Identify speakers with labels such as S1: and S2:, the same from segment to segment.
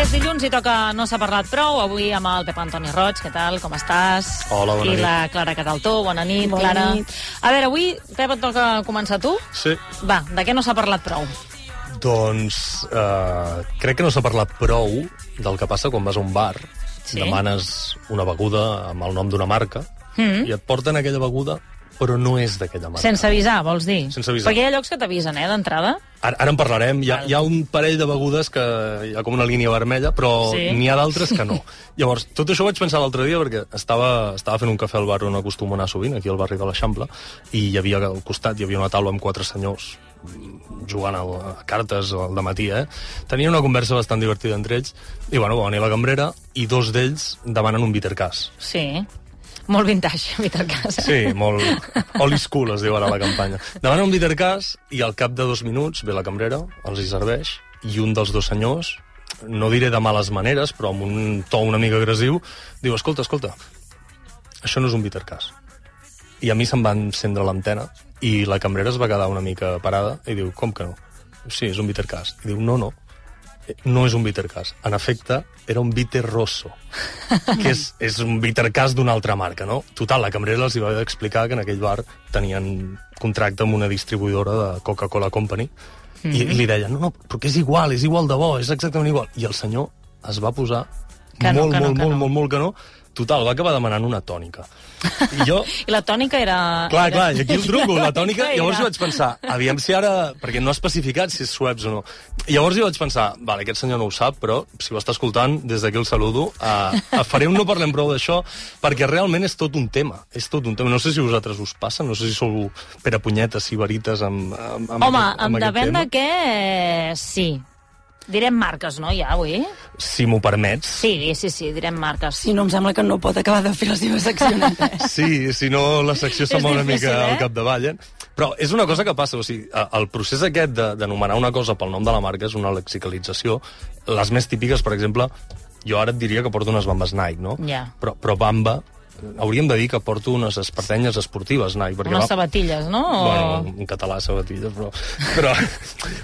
S1: ens hi toca No s'ha parlat prou, avui amb el Pep Antoni Roig. Què tal, com estàs?
S2: Hola, bona
S1: I
S2: nit.
S1: la Clara Cataltó, bona nit,
S3: Bona
S1: Clara.
S3: nit.
S1: A veure, avui, Pep, et toca començar tu?
S2: Sí.
S1: Va, de què no s'ha parlat prou?
S2: Doncs eh, crec que no s'ha parlat prou del que passa quan vas a un bar,
S1: Sí.
S2: demanes una beguda amb el nom d'una marca
S1: Mm.
S2: i et porten aquella beguda però no és d'aquella marca.
S1: Sense avisar, vols dir?
S2: Sense avisar.
S1: Perquè hi ha llocs que t'avisen, eh, d'entrada.
S2: Ara, ara en parlarem. Hi ha, hi ha un parell de begudes que hi ha com una línia vermella, però
S1: Sí.
S2: sí. n'hi ha d'altres que no. Llavors, tot això ho vaig pensar l'altre dia perquè estava, estava fent un cafè al bar on acostumo a anar sovint, aquí al barri de l'Eixample, i hi havia al costat hi havia una taula amb quatre senyors mm, jugant al- a cartes al matí, eh? Tenien una conversa bastant divertida entre ells, i bueno, va venir la cambrera, i dos d'ells demanen un bittercàs.
S1: Sí. Molt vintage, en aquest cas.
S2: Sí, molt old school, es diu ara la campanya. Demana un bittercàs i al cap de dos minuts ve la cambrera, els hi serveix, i un dels dos senyors, no diré de males maneres, però amb un to una mica agressiu, diu, escolta, escolta, això no és un bittercàs. I a mi se'm va encendre l'antena i la cambrera es va quedar una mica parada i diu, com que no? Sí, és un bittercàs. I diu, no, no, eh, no és un bittercàs. En efecte, era un bitter rosso, que és, és un bittercàs d'una altra marca, no? Total, la cambrera els hi va haver d'explicar que en aquell bar tenien contracte amb una distribuïdora de Coca-Cola Company i,
S1: Mhm.
S2: i li deien, no, no, però que és igual, és igual de bo, és exactament igual. I el senyor es va posar
S1: Que no,
S2: molt,
S1: que no,
S2: molt,
S1: que
S2: molt,
S1: no.
S2: molt, molt que no. Total, va acabar demanant una tònica. I jo,
S1: I la tònica era...
S2: Clar,
S1: era...
S2: clar, i aquí el truco, la tònica...
S1: era-
S2: Llavors hi vaig pensar, aviam si ara... Perquè no ha especificat si és sueps o no. Llavors hi vaig pensar, vale, aquest senyor no ho sap, però si ho està escoltant, des d'aquí el saludo. Uh, faré un no parlem prou d'això, perquè realment és tot un tema. És tot un tema. No sé si a vosaltres us passa, no sé si sou per a punyetes, sibarites, amb, amb, amb
S1: Home,
S2: aquest,
S1: em
S2: amb aquest
S1: depèn
S2: tema.
S1: de què... eh, Sí. Direm marques, no, ja, avui?
S2: Si m'ho permets.
S1: Sí, sí, sí, direm marques.
S3: Si no, em sembla que no pot acabar de fer la seva secció. en anglès.
S2: Sí, si no la secció se'n
S1: És
S2: va una
S1: difícil,
S2: mica
S1: eh?
S2: al capdavall, eh? Però és una cosa que passa, o sigui, a- el procés aquest de- d'anomenar una cosa pel nom de la marca és una lexicalització. Les més típiques, per exemple, jo ara et diria que porto unes bambes Nike, no?
S1: Ja.
S2: Però, però bamba, eh, hauríem de dir que porto unes espardenyes esportives Nike, perquè...
S1: Unes
S2: va-
S1: sabatilles, no? O...
S2: Bueno, en català sabatilles, però... però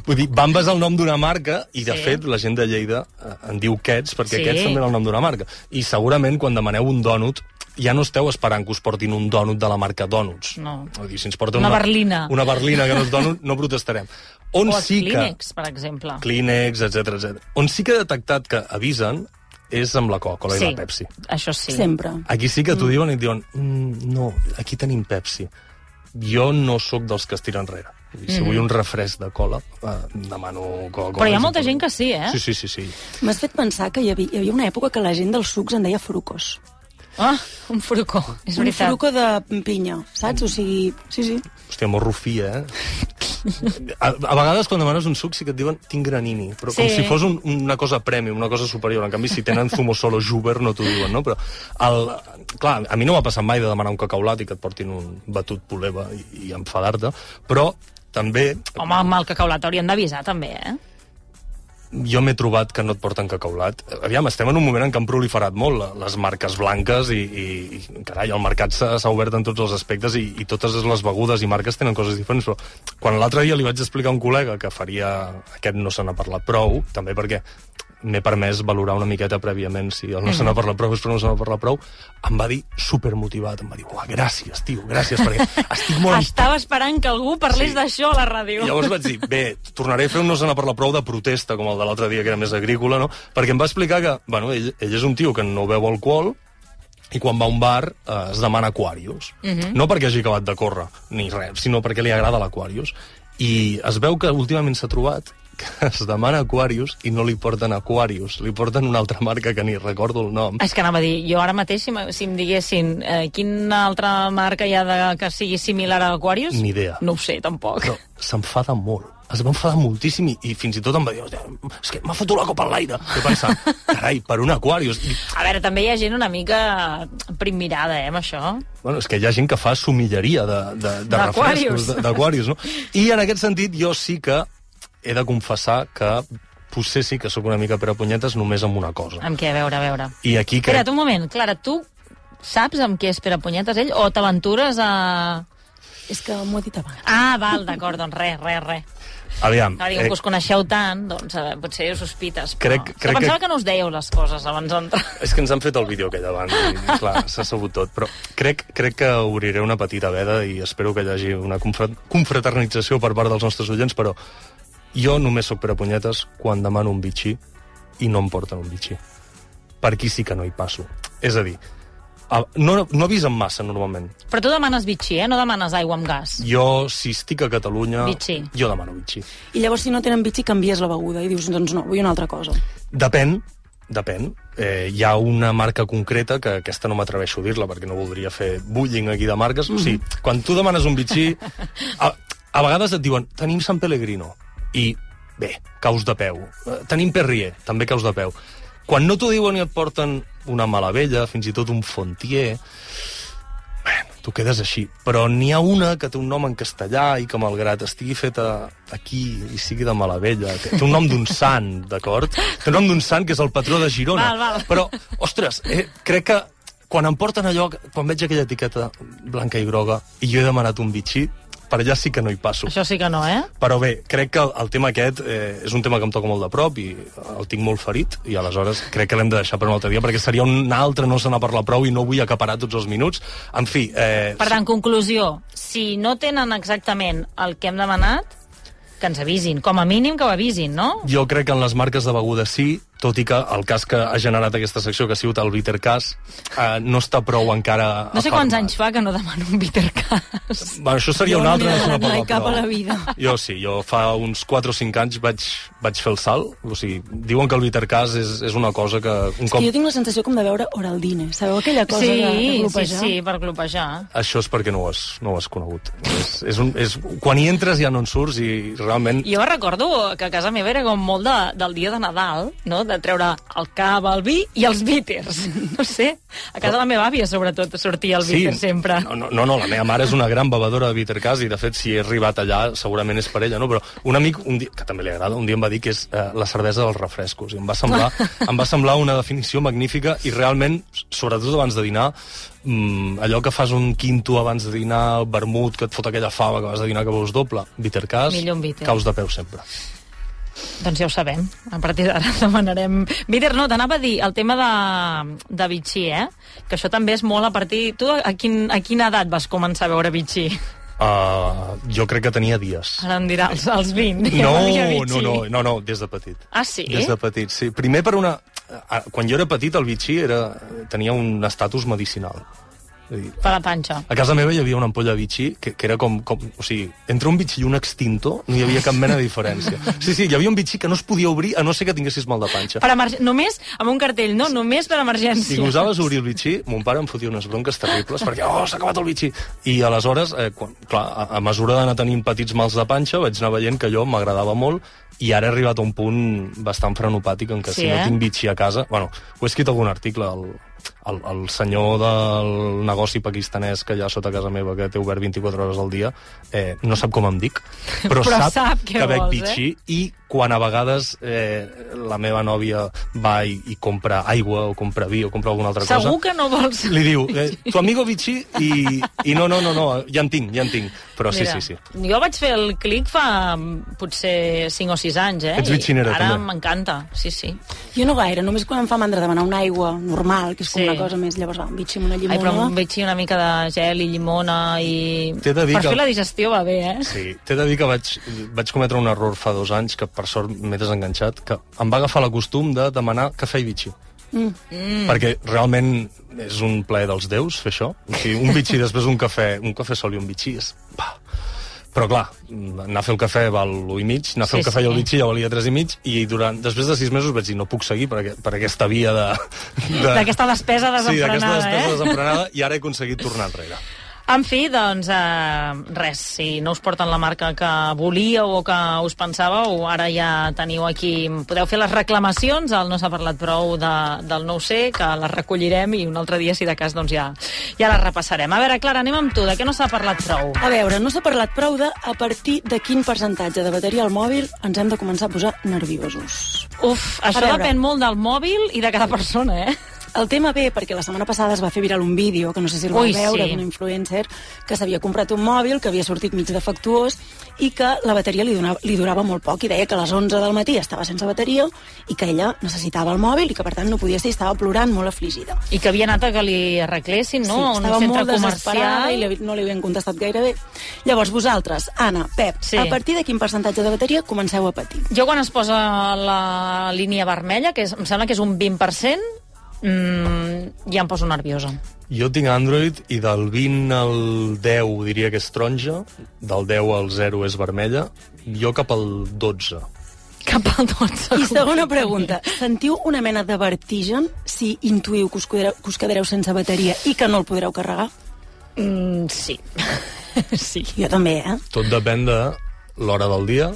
S2: vull dir, Bamba és el nom d'una marca i, de
S1: Sí.
S2: sí. fet, la gent de Lleida eh, en diu Quets perquè
S1: Sí.
S2: sí. Quets també era el nom d'una marca. I segurament quan demaneu un dònut ja no esteu esperant que us portin un dònut de la marca Donuts.
S1: No.
S2: Vull dir, si ens porta
S1: Una berlina.
S2: Una berlina que no és dònut, no protestarem. On
S1: o els
S2: sí que...
S1: Kleenex, per exemple.
S2: Kleenex, etc etc. On sí que he detectat que avisen és amb la Coca-Cola i la Pepsi.
S1: Això sí.
S3: Sempre.
S2: Aquí sí que t'ho diuen i et diuen mm, no, aquí tenim Pepsi. Jo no sóc dels que es tira enrere. Vull dir, Si vull un refresc de cola, eh, demano Coca-Cola.
S1: Mm-hmm. Però hi ha molta gent que sí, eh?
S2: Sí, sí, sí, sí.
S3: M'has fet pensar que hi havia, hi havia una època que la gent dels sucs en deia frucos.
S1: Ah, un frucó, és
S3: un
S1: veritat.
S3: fruco de pinya, saps? O sigui, sí, sí.
S2: Hòstia, molt rufia, eh? A, a vegades, quan demanes un suc, sí que et diuen tinc granini, però com
S1: Sí.
S2: si fos un, una cosa premium, una cosa superior. En canvi, si tenen zumo solo Juber, no t'ho diuen, no? Però, el, clar, a mi no m'ha passat mai de demanar un cacaulat i que et portin un batut poleva i, i enfadar-te, però també
S1: Home, amb el cacaulat haurien d'avisar, també, eh?
S2: jo m'he trobat que no et porten cacaulat. Aviam, estem en un moment en què han proliferat molt la- les marques blanques i, i, i carai, el mercat s'ha s'ha obert en tots els aspectes i, i totes les begudes i marques tenen coses diferents, però quan l'altre dia li vaig explicar a un col·lega que faria... Aquest no se n'ha parlat prou, també perquè m'he permès valorar una miqueta prèviament si el no se n'ha parlat prou, és però no se n'ha parlat prou, em va dir supermotivat, em va dir, uah, gràcies, tio, gràcies, perquè estic molt
S1: Estava esperant que algú parlés
S2: Sí.
S1: d'això a la ràdio.
S2: i llavors vaig dir, bé, tornaré a fer un no se n'ha parlat prou de protesta, com el de l'altre dia, que era més agrícola, no? Perquè em va explicar que, bueno, ell, ell és un tio que no beu alcohol, i quan va a un bar eh, es demana Aquarius. No perquè hagi acabat de córrer, ni res, sinó perquè li agrada l'Aquarius. I es veu que últimament s'ha trobat que es demana Aquarius i no li porten Aquarius, li porten una altra marca que ni recordo el nom.
S1: És que anava a dir, jo ara mateix, si, m- si em diguessin eh, quina altra marca hi ha de, que sigui similar a Aquarius...
S2: Ni idea.
S1: No ho sé, tampoc.
S2: però s'enfada molt. Es va enfadar moltíssim i, i fins i tot em va dir "Hòstia, és que m'ha fotut la copa en l'aire. Jo pensant, carai, per un Aquarius. I,
S1: A veure, també hi ha gent una mica primmirada, eh, amb això.
S2: Bueno, és que hi ha gent que fa somilleria de, de, de
S1: D'Aquarius.
S2: refrescos, de- d'aquarius, no? I en aquest sentit jo sí que he de confessar que potser sí que sóc una mica per a punyetes només amb una cosa.
S1: Amb què, a veure, a veure.
S2: I aquí crec...
S1: Espera't un moment, Clara, tu saps amb què és Pere Punyetes ell o t'aventures a...
S3: És que m'ho he dit abans.
S1: Ah, val, d'acord, doncs res, res, res.
S2: Aviam,
S1: Ara
S2: eh,
S1: dic, que us coneixeu tant, doncs eh, potser us sospites. Però...
S2: Crec-
S1: És que
S2: crec que-
S1: pensava que... no us dèieu les coses abans d'entrar.
S2: és que ens han fet el vídeo aquell abans i, clar, s'ha sabut tot. Però crec, crec que obriré una petita veda i espero que hi hagi una confra- confraternització per part dels nostres oients, però jo només sóc per a punyetes quan demano un bitxí i no em porten un bitxí. Per aquí sí que no hi passo. És a dir, a- no, no avisen massa normalment.
S1: Però tu demanes bitxí, eh? No demanes aigua amb gas.
S2: Jo, si estic a Catalunya...
S1: Bitxí.
S2: Jo demano bitxí.
S3: I llavors, si no tenen bitxi, canvies la beguda i dius, doncs no, vull una altra cosa.
S2: Depèn, depèn. Eh, hi ha una marca concreta que aquesta no m'atreveixo a dir-la perquè no voldria fer bullying aquí de marques. Mm -hmm. O sigui, quan tu demanes un bitxí, a, a vegades et diuen tenim San Pellegrino i bé, caus de peu. Eh, Tenim Perrier, també caus de peu. Quan no t'ho diuen i et porten una malavella, fins i tot un fontier, tu quedes així. Però n'hi ha una que té un nom en castellà i que, malgrat estigui feta aquí i sigui de Malavella, té té un nom d'un sant, d'acord? Té un nom d'un sant que és el patró de Girona.
S1: Val, val.
S2: Però, ostres, eh, crec que quan em porten allò, quan veig aquella etiqueta blanca i groga i jo he demanat un bitxí, per allà sí que no hi passo.
S1: Això sí que no, eh?
S2: Però bé, crec que el, el tema aquest eh, és un tema que em toca molt de prop i el tinc molt ferit i aleshores crec que l'hem de deixar per un altre dia perquè seria un altre no se n'ha parlat prou i no vull acaparar tots els minuts. En fi... Eh,
S1: Per tant, conclusió, si no tenen exactament el que hem demanat, que ens avisin. Com a mínim que ho avisin, no?
S2: Jo crec que en les marques de beguda sí, tot i que el cas que ha generat aquesta secció, que ha sigut el bitter cas, eh, no està prou encara...
S1: No sé
S2: afermat.
S1: quants anys fa que no demano un bittercast.
S2: Bueno, això seria
S3: Jo
S2: un
S3: no
S2: altre...
S3: m'he
S2: se n'ha
S3: donat mai
S2: parlat,
S3: cap
S2: però-
S3: a la vida.
S2: Jo sí, jo fa uns 4 o 5 anys vaig, vaig fer el salt. O sigui, diuen que el bitter cas és, és una cosa que un
S3: Com?
S2: cop...
S3: Jo tinc la sensació com de veure Oraldine, sabeu aquella cosa
S1: Sí,
S3: de, de
S1: sí,
S3: glopejar?
S1: sí, per glopejar.
S2: Això és perquè no ho has, no ho has conegut. És, és un, és, quan hi entres ja no en surts i realment...
S1: Jo recordo que a casa meva era com molt de, del dia de Nadal, no? de treure el cava, el vi i els bíters. No sé, a casa de la meva àvia sobretot sortia el
S2: Sí,
S1: bíter sempre.
S2: No, no, no, no, la meva mare és una gran bebedora de bittercast i, de fet, si he arribat allà, segurament és per ella, no? Però un amic, un dia, que també li agrada, un dia em va dir que és eh, la cervesa dels refrescos i em va, semblar, em va semblar una definició magnífica i realment, sobretot abans de dinar, mm, allò que fas un quinto abans de dinar, el vermut, que et fot aquella fava que vas de dinar que veus doble, bittercast,
S1: Millor un bitter.
S2: caus de peu sempre.
S1: Doncs ja ho sabem. A partir d'ara demanarem... Víder, no, t'anava a dir el tema de, de Vichy, eh? Que això també és molt a partir... Tu a, quin, a quina edat vas començar a veure Vichy?
S2: Uh, jo crec que tenia dies.
S1: Ara em dirà, als, als 20. Ah, ja
S2: Eh, No,
S1: veia Vichy.
S2: no, no, no, no, des de petit.
S1: Ah, sí?
S2: Des de petit, sí. Primer per una... ah, Quan jo era petit, el bitxí era... tenia un estatus medicinal. És a dir,
S1: Per la panxa.
S2: A casa meva hi havia una ampolla de bitxí que, que era com, com... O sigui, entre un bitxí i un extintor no hi havia cap mena de diferència. Sí, sí, hi havia un bitxí que no es podia obrir a no ser que tinguessis mal de panxa.
S1: Per emerg... Només amb un cartell, no? Només per emergència.
S2: Si gosaves obrir el bitxí, mon pare em fotia unes bronques terribles perquè, oh, s'ha acabat el bitxí. I aleshores, eh, quan, clar, a, a mesura d'anar tenint petits mals de panxa, vaig anar veient que allò m'agradava molt i ara he arribat a un punt bastant frenopàtic en què
S1: Sí,
S2: si no
S1: eh?
S2: tinc bitxí a casa... Bueno, ho he escrit a algun article, el, el, el senyor del negoci pakistanès que hi ha sota casa meva, que té obert 24 hores al dia, eh, no sap com em dic, però,
S1: Però sap què
S2: que
S1: vols,
S2: bec
S1: eh?
S2: bitxí i quan a vegades eh, la meva nòvia va i, i compra aigua o compra vi o compra alguna altra
S1: Segur
S2: cosa
S1: que no vols...
S2: li diu, eh, tu amigo Vichy i, i no, no, no, no, ja en tinc, ja en tinc però Oh, sí, sí, sí
S1: Jo vaig fer el clic fa mm, potser 5 o 6 anys, eh?
S2: Ets
S1: I
S2: bitxinera,
S1: ara
S2: també.
S1: m'encanta, sí, sí.
S3: Jo no gaire, només quan em fa mandra demanar una aigua normal, que és com
S1: Sí.
S3: sí. una cosa més, llavors va, un bitxi amb una
S1: Ai,
S3: llimona...
S1: però un bitxí una mica de gel i llimona i...
S2: T'he de dir
S1: per
S2: que-
S1: fer la digestió va bé, eh?
S2: Sí, t'he de dir que vaig, vaig cometre un error fa dos anys, que per sort m'he desenganxat, que em va agafar la costum de demanar cafè i bitxí. Mm. Perquè realment és un plaer dels déus fer això. O sigui, un bitxí després d'un cafè, un cafè sol i un bitxí és... Pa. Però clar, anar a fer el cafè val l'1,5, mig, anar a
S1: Sí,
S2: fer el cafè i el
S1: sí.
S2: bitxí ja valia 3,5, i mig, i durant, després de sis mesos vaig dir no puc seguir per, aqu- per aquesta via de... de-
S1: D'aquesta despesa
S2: Sí, d'aquesta
S1: desenfrenada,
S2: despesa
S1: eh?
S2: desenfrenada, i ara he aconseguit tornar enrere.
S1: En fi, doncs, eh, res, si no us porten la marca que volíeu o que us pensàveu, ara ja teniu aquí... Podeu fer les reclamacions, el no s'ha parlat prou de, del no ho sé, que les recollirem i un altre dia, si de cas, doncs ja, ja les repassarem. A veure, Clara, anem amb tu, de què no s'ha parlat prou?
S3: A veure, no s'ha parlat prou de a partir de quin percentatge de bateria al mòbil ens hem de començar a posar nerviosos.
S1: Uf, això
S3: A veure.
S1: depèn molt del mòbil i de cada persona, eh?
S3: El tema ve perquè la setmana passada es va fer viral un vídeo, que no sé si el vau
S1: Ui,
S3: veure,
S1: sí.
S3: d'un influencer que s'havia comprat un mòbil, que havia sortit mig defectuós, i que la bateria li, donava, li durava molt poc, i deia que a les 11 del matí estava sense bateria i que ella necessitava el mòbil i que, per tant, no podia ser i estava plorant molt afligida.
S1: I que havia anat a que li arreglessin, no? A un
S3: estava
S1: centre
S3: molt desesperada
S1: comercial.
S3: i li, no li havien contestat gaire bé. Llavors, vosaltres, Anna, Pep,
S1: Sí.
S3: sí. a partir de quin percentatge de bateria comenceu a patir?
S1: Jo quan es posa la línia vermella, que és, em sembla que és un 20%, mm, ja em poso nerviosa.
S2: Jo tinc Android i del 20 al 10 diria que és taronja, del 10 al 0 és vermella, jo cap al 12.
S1: Cap al 12.
S3: I segona pregunta. Sentiu una mena de vertigen si intuïu que us, quedareu, que us quedareu sense bateria i que no el podreu carregar?
S1: Mm, sí. sí.
S3: Jo també, eh?
S2: Tot depèn de l'hora del dia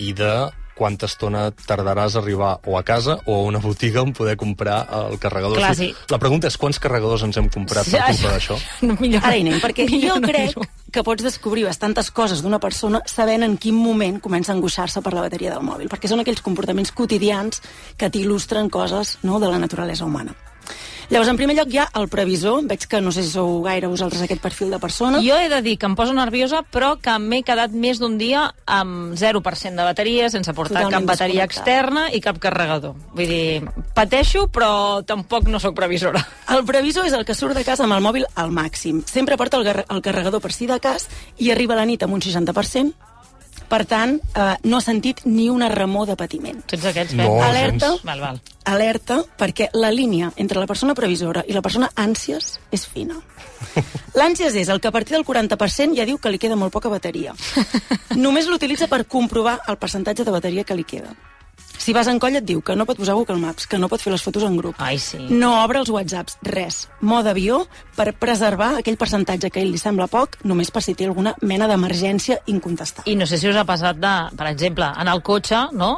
S2: i de quanta estona tardaràs a arribar o a casa o a una botiga on poder comprar el carregador.
S1: Clar,
S2: O sigui,
S1: sí.
S2: La pregunta és quants carregadors ens hem comprat per culpa d'això?
S1: No, millor, no-
S3: Ara hi anem, perquè jo
S1: millor no
S3: crec
S1: dir-ho.
S3: que pots descobrir bastantes coses d'una persona sabent en quin moment comença a angoixar-se per la bateria del mòbil, perquè són aquells comportaments quotidians que t'il·lustren coses no, de la naturalesa humana. Llavors, en primer lloc, hi ha el previsor. Veig que no sé si sou gaire vosaltres aquest perfil de persona.
S1: Jo he de dir que em poso nerviosa, però que m'he quedat més d'un dia amb 0% de bateria, sense portar
S3: Totalment
S1: cap bateria
S3: desconnectada.
S1: externa i cap carregador. Vull dir, pateixo, però tampoc no sóc previsora.
S3: El previsor és el que surt de casa amb el mòbil al màxim. Sempre porta el, gar- el carregador per si de cas i arriba a la nit amb un 60%. Per tant, eh, no ha sentit ni una remor de patiment.
S1: Tu ets aquests,
S2: No,
S1: Pep?
S3: Alerta. gens.
S1: Val, val.
S3: Alerta, perquè la línia entre la persona previsora i la persona ànsies és fina. L'ànsies és el que a partir del 40% ja diu que li queda molt poca bateria. Només l'utilitza per comprovar el percentatge de bateria que li queda. Si vas en colla et diu que no pot posar Google Maps, que no pot fer les fotos en grup.
S1: Ai, sí.
S3: No obre els whatsapps, res. Mode avió per preservar aquell percentatge que a ell li sembla poc, només per si té alguna mena d'emergència incontestable.
S1: I no sé si us ha passat de, per exemple, en el cotxe, no?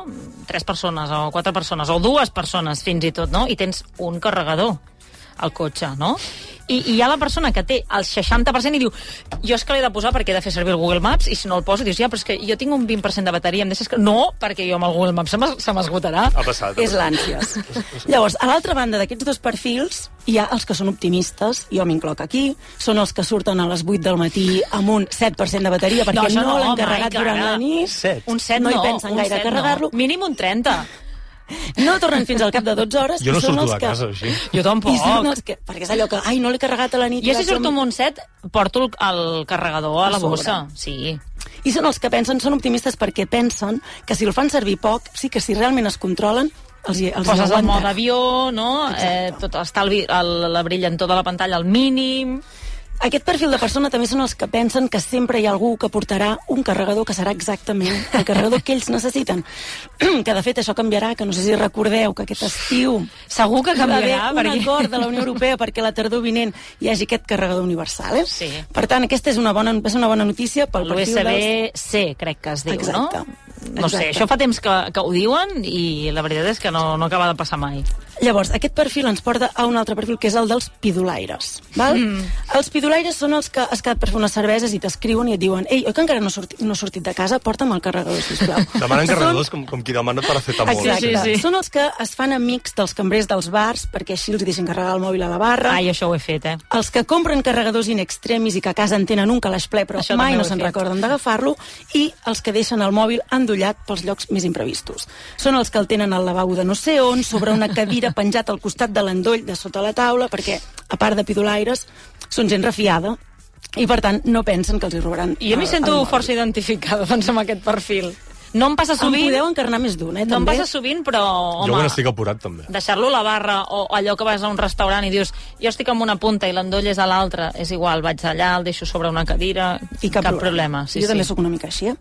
S1: Tres persones o quatre persones o dues persones fins i tot, no? I tens un carregador al cotxe, no? I, I hi ha la persona que té el 60% i diu jo és que l'he de posar perquè he de fer servir el Google Maps i si no el poso dius ja, però és que jo tinc un 20% de bateria, em deixes que... No, perquè jo amb el Google Maps se m'es- se m'esgotarà.
S2: Ha passat.
S3: És l'ànsies. Llavors, a l'altra banda d'aquests dos perfils hi ha els que són optimistes, jo m'incloc aquí, són els que surten a les 8 del matí amb un 7% de bateria perquè
S1: això
S3: no, l'han
S1: home,
S3: carregat
S1: cara.
S3: durant la nit.
S2: Set.
S1: Un 7
S3: No
S1: no,
S3: hi pensen
S1: un
S3: gaire a
S1: set
S3: carregar-lo.
S1: No. Mínim un 30.
S3: No tornen fins al cap de 12 hores.
S2: Jo no
S3: i són
S2: surto
S3: els
S2: de
S3: que...
S2: casa així.
S1: Jo
S3: I són
S1: tampoc.
S3: els que... Perquè és allò que, ai, no l'he carregat a la nit. i
S1: Jo si
S3: vaig amb-
S1: surto amb un 7 porto el, el carregador a
S3: A
S1: la
S3: sobre.
S1: bossa. Sí.
S3: I són els que pensen, són optimistes perquè pensen que si el fan servir poc, sí que si realment es controlen, els, hi- els hi
S1: Poses el
S3: aguanten.
S1: mode avió, no?
S3: Exacte.
S1: Eh, tot estalvi, el, la brillantor de la pantalla al mínim.
S3: Aquest perfil de persona també són els que pensen que sempre hi ha algú que portarà un carregador que serà exactament el carregador que ells necessiten. Que, de fet, això canviarà, que no sé si recordeu que aquest estiu
S1: Segur que
S3: hi va haver
S1: canviarà,
S3: un
S1: perquè...
S3: acord de la Unió Europea perquè la tardor vinent hi hagi aquest carregador universal. Eh?
S1: Sí.
S3: Per tant, aquesta és una bona, va ser una bona notícia pel perfil dels...
S1: L'USB-C, crec que es diu,
S3: Exacte.
S1: no? No sé,
S3: Exacte.
S1: això fa temps que, que ho diuen i la veritat és que no, no acaba de passar mai.
S3: Llavors, aquest perfil ens porta a un altre perfil, que és el dels pidolaires. Val? Mm. Els pidolaires són els que has quedat per fer unes cerveses i t'escriuen i et diuen «Ei, oi que encara no, sorti, no he sortit de casa? Porta'm el carregador, sisplau».
S2: Demanen carregadors com, com qui demana per acetamol.
S1: Sí,
S3: Exacte.
S1: sí, sí.
S3: Són els que es fan amics dels cambrers dels bars perquè així els deixen carregar el mòbil a la barra.
S1: Ai, això ho he fet, eh?
S3: Els que compren carregadors in extremis i que a casa en tenen un calaix ple però
S1: Això
S3: mai
S1: també ho
S3: no
S1: he
S3: se'n
S1: fet.
S3: recorden d'agafar-lo i els que deixen el mòbil endollat pels llocs més imprevistos. Són els que el tenen al lavabo de no sé on, sobre una cadira penjat al costat de l'endoll de sota la taula perquè, a part de pidolaires, són gent refiada i, per tant, no pensen que els hi robaran
S1: Jo m'hi
S3: el-
S1: sento
S3: el mòbil.
S1: força identificada, doncs, amb aquest perfil. Ah, No em passa
S3: Em
S1: sovint,
S3: podeu encarnar més d'un,
S1: no
S3: eh,
S1: em
S3: també.
S1: passa sovint, però,
S2: Jo
S1: home,
S2: quan estic apurat, també.
S1: deixar-lo a la barra o allò que vas a un restaurant i dius jo estic amb una punta i l'endoll és a l'altra, és igual, vaig allà, el deixo sobre una cadira,
S3: I cap,
S1: cap problema. Sí,
S3: jo
S1: sí.
S3: també sóc una mica així, eh?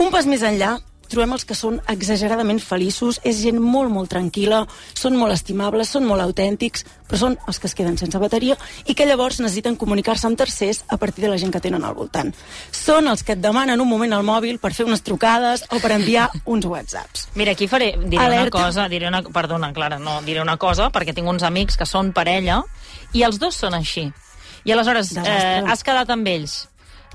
S3: Un pas més enllà, trobem els que són exageradament feliços, és gent molt, molt tranquil·la, són molt estimables, són molt autèntics, però són els que es queden sense bateria i que llavors necessiten comunicar-se amb tercers a partir de la gent que tenen al voltant. Són els que et demanen un moment al mòbil per fer unes trucades o per enviar uns whatsapps.
S1: Mira, aquí faré, diré
S3: Alerta.
S1: una cosa, diré una, perdona, Clara, no, diré una cosa, perquè tinc uns amics que són parella, i els dos són així. I aleshores eh,
S3: Desastre.
S1: has quedat amb ells,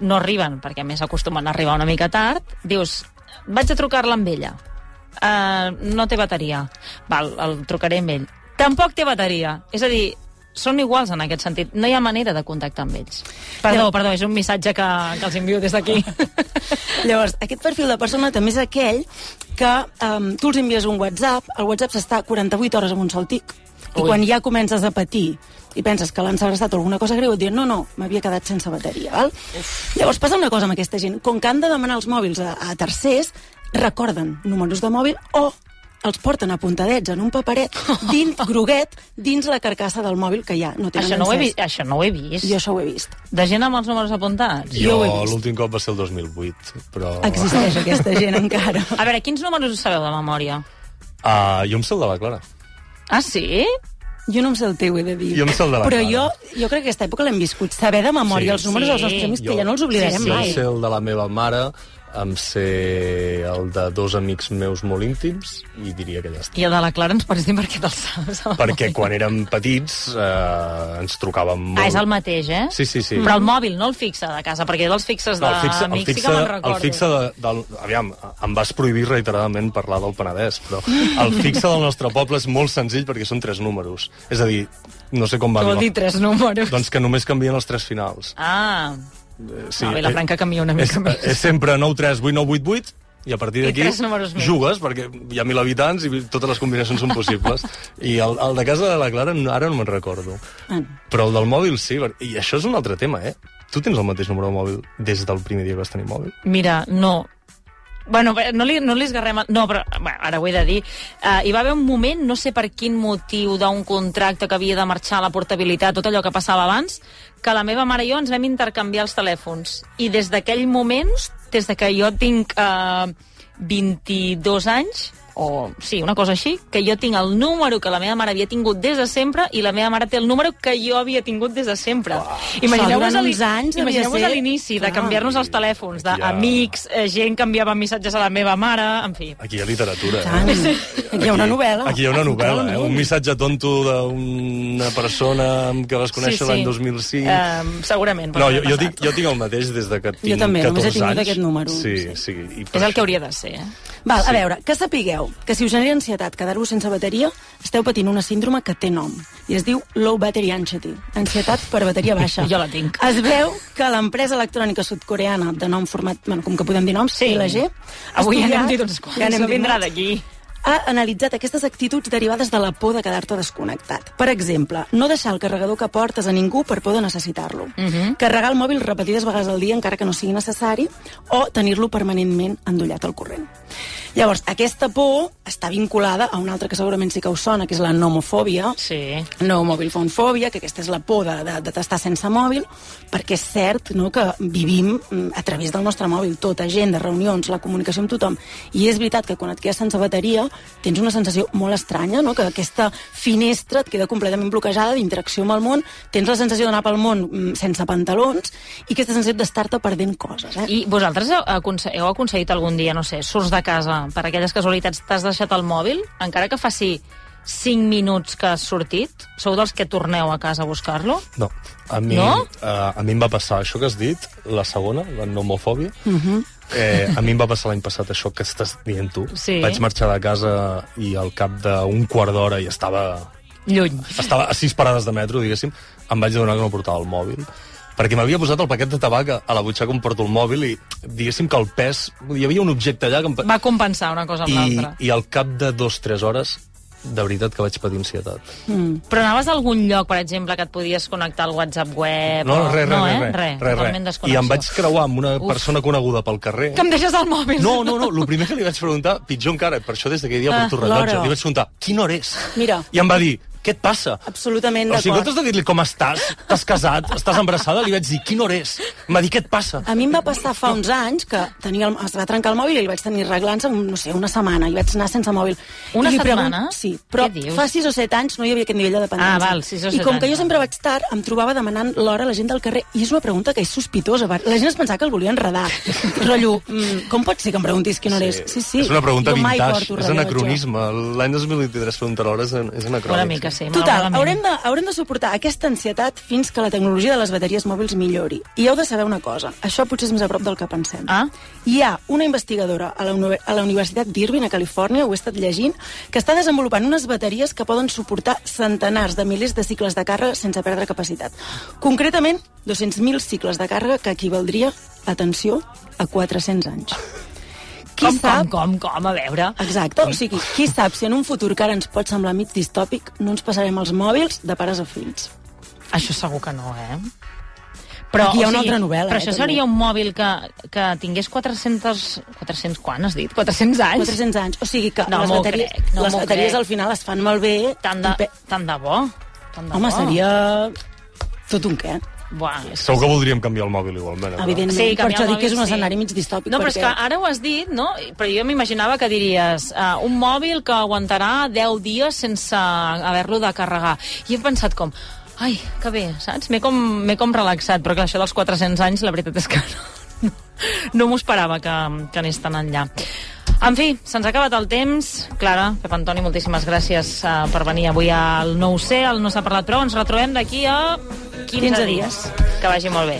S1: no arriben, perquè a més acostumen a arribar una mica tard, dius, Eh, vaig a trucar-la amb ella, uh, no té bateria, val, el trucaré amb ell, tampoc té bateria. És a dir, són iguals en aquest sentit. No hi ha manera de contactar amb ells. Perdó, perdó, és un missatge que, que els envio des d'aquí.
S3: Llavors, aquest perfil de persona també és aquell que um, tu els envies un WhatsApp, el WhatsApp s'està 48 hores amb un sol tic, i
S1: Ui.
S3: quan ja comences a patir i penses que l'han segrestat o alguna cosa greu, et diuen, no, no, m'havia quedat sense bateria, val? Llavors passa una cosa amb aquesta gent, com que han de demanar els mòbils a, a tercers, recorden números de mòbil o els porten apuntadets en un paperet dins, groguet, dins la carcassa del mòbil que ja no tenen
S1: això, no ho he
S3: encès.
S1: vist, això no ho he vist.
S3: Jo això ho he vist.
S1: De gent amb els números apuntats.
S3: Jo
S2: Jo,
S3: ho he vist.
S2: l'últim cop va ser el 2008, però...
S1: Oh.
S3: Existeix aquesta gent encara.
S1: A veure, quins números us sabeu de memòria?
S2: Ah, jo em sé el de la Clara.
S1: Ah, sí?
S3: Jo no em sé el teu, he de dir.
S2: Jo em sé el de la
S3: Però
S2: Clara.
S3: jo, jo crec que aquesta època l'hem viscut. Saber de memòria
S2: Sí.
S3: els números
S1: Sí.
S3: dels nostres amics, que
S2: Jo-
S3: ja no els oblidarem
S1: Sí,
S2: jo
S3: mai.
S2: em sé el de la meva mare, em sé el de dos amics meus molt íntims, i diria que ja està.
S1: I el de la Clara ens pots dir per què te'l saps?
S2: Perquè quan érem petits eh, ens trucàvem molt.
S1: Ah, és el mateix, eh?
S2: Sí, sí, sí.
S1: Però el mòbil no el fixa de casa, perquè dels fixes
S2: No, el fixa, el
S1: d'amics sí
S2: fixa,
S1: que me'n
S2: el
S1: recordo.
S2: fixa de, del... Aviam, em vas prohibir reiteradament parlar del Penedès, però el fixa del nostre poble és molt senzill perquè són tres números. És a dir, no sé com va...
S1: Que vol
S2: dir-
S1: dir tres números.
S2: Doncs que només canvien els tres finals.
S1: Ah,
S2: Eh,
S1: sí, no, bé, la franca canvia una mica
S2: és, eh,
S1: més.
S2: és sempre 9388988 i a partir
S1: I
S2: d'aquí
S1: tres números més.
S2: jugues, perquè hi ha mil habitants i totes les combinacions són possibles. I el, el de casa de la Clara no- ara no me'n recordo.
S3: Ah, no.
S2: Però el del mòbil sí, per- i això és un altre tema, eh? Tu tens el mateix número de mòbil des del primer dia que vas tenir mòbil?
S1: Mira, no. Bueno, bé, no li, no li esgarrem... el- No, però bueno, ara ho he de dir. Uh, hi va haver un moment, no sé per quin motiu, d'un contracte que havia de marxar a la portabilitat, tot allò que passava abans, que la meva mare i jo ens vam intercanviar els telèfons. I des d'aquell moment, des de que jo tinc uh, 22 anys, o sí, una cosa així, que jo tinc el número que la meva mare havia tingut des de sempre i la meva mare té el número que jo havia tingut des de sempre. Imagineu-vos
S3: Durant
S1: a l'in-
S3: uns anys devia
S1: imagineu-vos a
S3: ser-
S1: l'inici de
S3: Clar.
S1: canviar-nos els telèfons,
S2: Aquí hi ha-
S1: d'amics, ja... gent que enviava missatges a la meva mare, en fi.
S2: Aquí hi ha literatura,
S3: Tant.
S2: eh?
S3: Aquí hi ha una novel·la. Ah,
S2: Aquí hi ha una novel·la, eh?
S3: Totalment.
S2: Un missatge tonto d'una persona amb què vas conèixer l'any 2005.
S3: Eh,
S1: Um, segurament.
S2: No,
S1: pot
S2: jo,
S1: haver
S2: jo,
S1: passat.
S2: tinc, jo tinc el mateix des de que tinc
S3: també,
S2: 14
S3: només he tingut
S2: anys.
S3: aquest número.
S2: Sí,
S3: Sí.
S2: sí. I
S1: És el
S2: per això-
S1: que hauria de ser, eh?
S3: Val, a veure, que sapigueu que si us genera ansietat quedar-vos sense bateria, esteu patint una síndrome que té nom i es diu low battery anxiety, ansietat per bateria baixa.
S1: Jo la tinc.
S3: Es veu que l'empresa electrònica sudcoreana de nom format, bueno, com que podem dir noms,
S1: Sí.
S3: LG,
S1: Avui ja
S3: estudiat-
S1: n'hem dit uns quants,
S3: n'hem
S1: no
S3: dit
S1: vindrà
S3: molts
S1: d'aquí.
S3: ha analitzat aquestes actituds derivades de la por de quedar-te desconnectat. Per exemple, no deixar el carregador que portes a ningú per por de necessitar-lo. Carregar el mòbil repetides vegades al dia encara que no sigui necessari o tenir-lo permanentment endollat al corrent. Llavors, aquesta por està vinculada a una altra que segurament sí que us sona, que és la nomofòbia,
S1: Sí.
S3: no mòbil phone fòbia, que aquesta és la por de, de, de tastar sense mòbil, perquè és cert no, que vivim mm, a través del nostre mòbil, tota agenda, reunions, la comunicació amb tothom, i és veritat que quan et quedes sense bateria tens una sensació molt estranya, no, que aquesta finestra et queda completament bloquejada d'interacció amb el món, tens la sensació d'anar pel món mm, sense pantalons i aquesta sensació d'estar-te perdent coses. Eh?
S1: I vosaltres heu, aconse heu aconseguit algun dia, no sé, surts de casa, per aquelles casualitats t'has deixat el mòbil, encara que faci 5 minuts que has sortit, sou dels que torneu a casa a buscar-lo?
S2: No, a mi,
S1: No?
S2: eh, a mi em va passar això que has dit, la segona, la nomofòbia.
S1: Mhm.
S2: eh, a mi em va passar l'any passat això que estàs dient tu.
S1: Sí.
S2: Vaig marxar de casa i al cap d'un quart d'hora i estava,
S1: Lluny.
S2: estava a sis parades de metro, diguéssim, em vaig adonar que no portava el mòbil perquè m'havia posat el paquet de tabac a a la butxaca on porto el mòbil i diguéssim que el pes... Hi havia un objecte allà que em,
S1: Va compensar una cosa amb
S2: I,
S1: l'altra.
S2: i al cap de dos, tres hores, de veritat que vaig patir ansietat.
S1: Però anaves a algun lloc, per exemple, que et podies connectar al WhatsApp web?
S2: No,
S1: o-
S2: res, res,
S1: no, eh?
S2: res,
S1: res,
S2: res,
S1: totalment
S2: res. I
S1: desconnexió.
S2: em vaig creuar amb una
S1: Uf.
S2: persona coneguda pel carrer.
S1: Que em deixes el mòbil.
S2: No, no, no, el primer que li vaig preguntar, pitjor encara, per això des d'aquell dia porto rellotge,
S3: Ah, l'hora.
S2: li vaig preguntar, quina hora és?
S3: Mira.
S2: I em va dir, què et passa?
S3: Absolutament
S2: O sigui, en
S3: d'acord.
S2: comptes de dir-li com estàs, t'has casat, estàs embarassada, li vaig dir, quina hora és? Em va dir, què et passa?
S3: A mi em va passar fa uns anys que tenia el, es va trencar el mòbil i el vaig tenir arreglant-se, un- no sé, una setmana, i vaig anar sense mòbil.
S1: Una
S3: I li pregun-
S1: setmana?
S3: Sí, però
S1: Què dius?
S3: fa 6 o 7 anys no hi havia aquest nivell de dependència.
S1: Ah, val, sis o set
S3: I com que
S1: anys,
S3: jo
S1: val.
S3: sempre vaig tard, em trobava demanant l'hora a la gent del carrer, i és una pregunta que és sospitosa. va- La gent es pensava que el volia enredar. Rotllo, mm, com pot ser que em preguntis quina hora és? Sí, sí.
S2: És una pregunta
S3: jo mai
S2: vintage,
S3: porto
S2: és
S3: rellotge.
S2: anacronisme. L'any 2023 preguntar hores és anacrònic.
S1: Una mica, sí,
S3: Total,
S1: malauradament.
S3: haurem de, haurem de suportar aquesta ansietat fins que la tecnologia de les bateries mòbils millori. I heu de saber una cosa, això potser és més a prop del que pensem.
S1: Ah.
S3: Hi ha una investigadora a la, uni- a la Universitat d'Irvine, a Califòrnia, ho he estat llegint, que està desenvolupant unes bateries que poden suportar centenars de milers de cicles de càrrega sense perdre capacitat. Concretament, 200.000 cicles de càrrega que equivaldria, atenció, a 400 anys. Qui
S1: Com,
S3: sap...
S1: com, com, com, a veure.
S3: Exacte, o sigui, qui sap si en un futur que ara ens pot semblar mig distòpic no ens passarem els mòbils de pares a fills.
S1: Això segur que no, eh? Però,
S3: Aquí hi ha una altra novel·la,
S1: Però
S3: eh,
S1: això
S3: també.
S1: seria un mòbil que, que tingués 400... 400 quan has dit? 400 anys?
S3: 400 anys, o sigui que
S1: No
S3: les
S1: m'ho
S3: bateries,
S1: crec, no
S3: les
S1: m'ho
S3: bateries
S1: crec.
S3: al final es fan malbé.
S1: Tant
S3: i
S1: de,
S3: pe-
S1: tant de bo. Tant de
S3: Home,
S1: bo.
S3: seria tot un què.
S1: Buah, és
S2: Segur que voldríem canviar el mòbil igualment. eh, però-
S3: Ah, Evidentment, sí, per
S1: canviar
S3: això
S1: el
S3: dic que és
S1: mòbil,
S3: un escenari mig distòpic.
S1: No, però és
S3: perquè...
S1: que ara ho has dit, no? Però jo m'imaginava que diries uh, un mòbil que aguantarà 10 dies sense haver-lo de carregar. I he pensat com... Ai, que bé, saps? M'he com, m'he com relaxat, però clar, això dels 400 anys, la veritat és que no, no m'ho esperava que, que anés tan enllà. En fi, se'ns ha acabat el temps. Clara, Pep Antoni, moltíssimes gràcies uh, per venir avui al 9C, al No s'ha parlat prou. Ens retrobem d'aquí a 15,
S3: 15 dies.
S1: dies. Que vagi molt bé.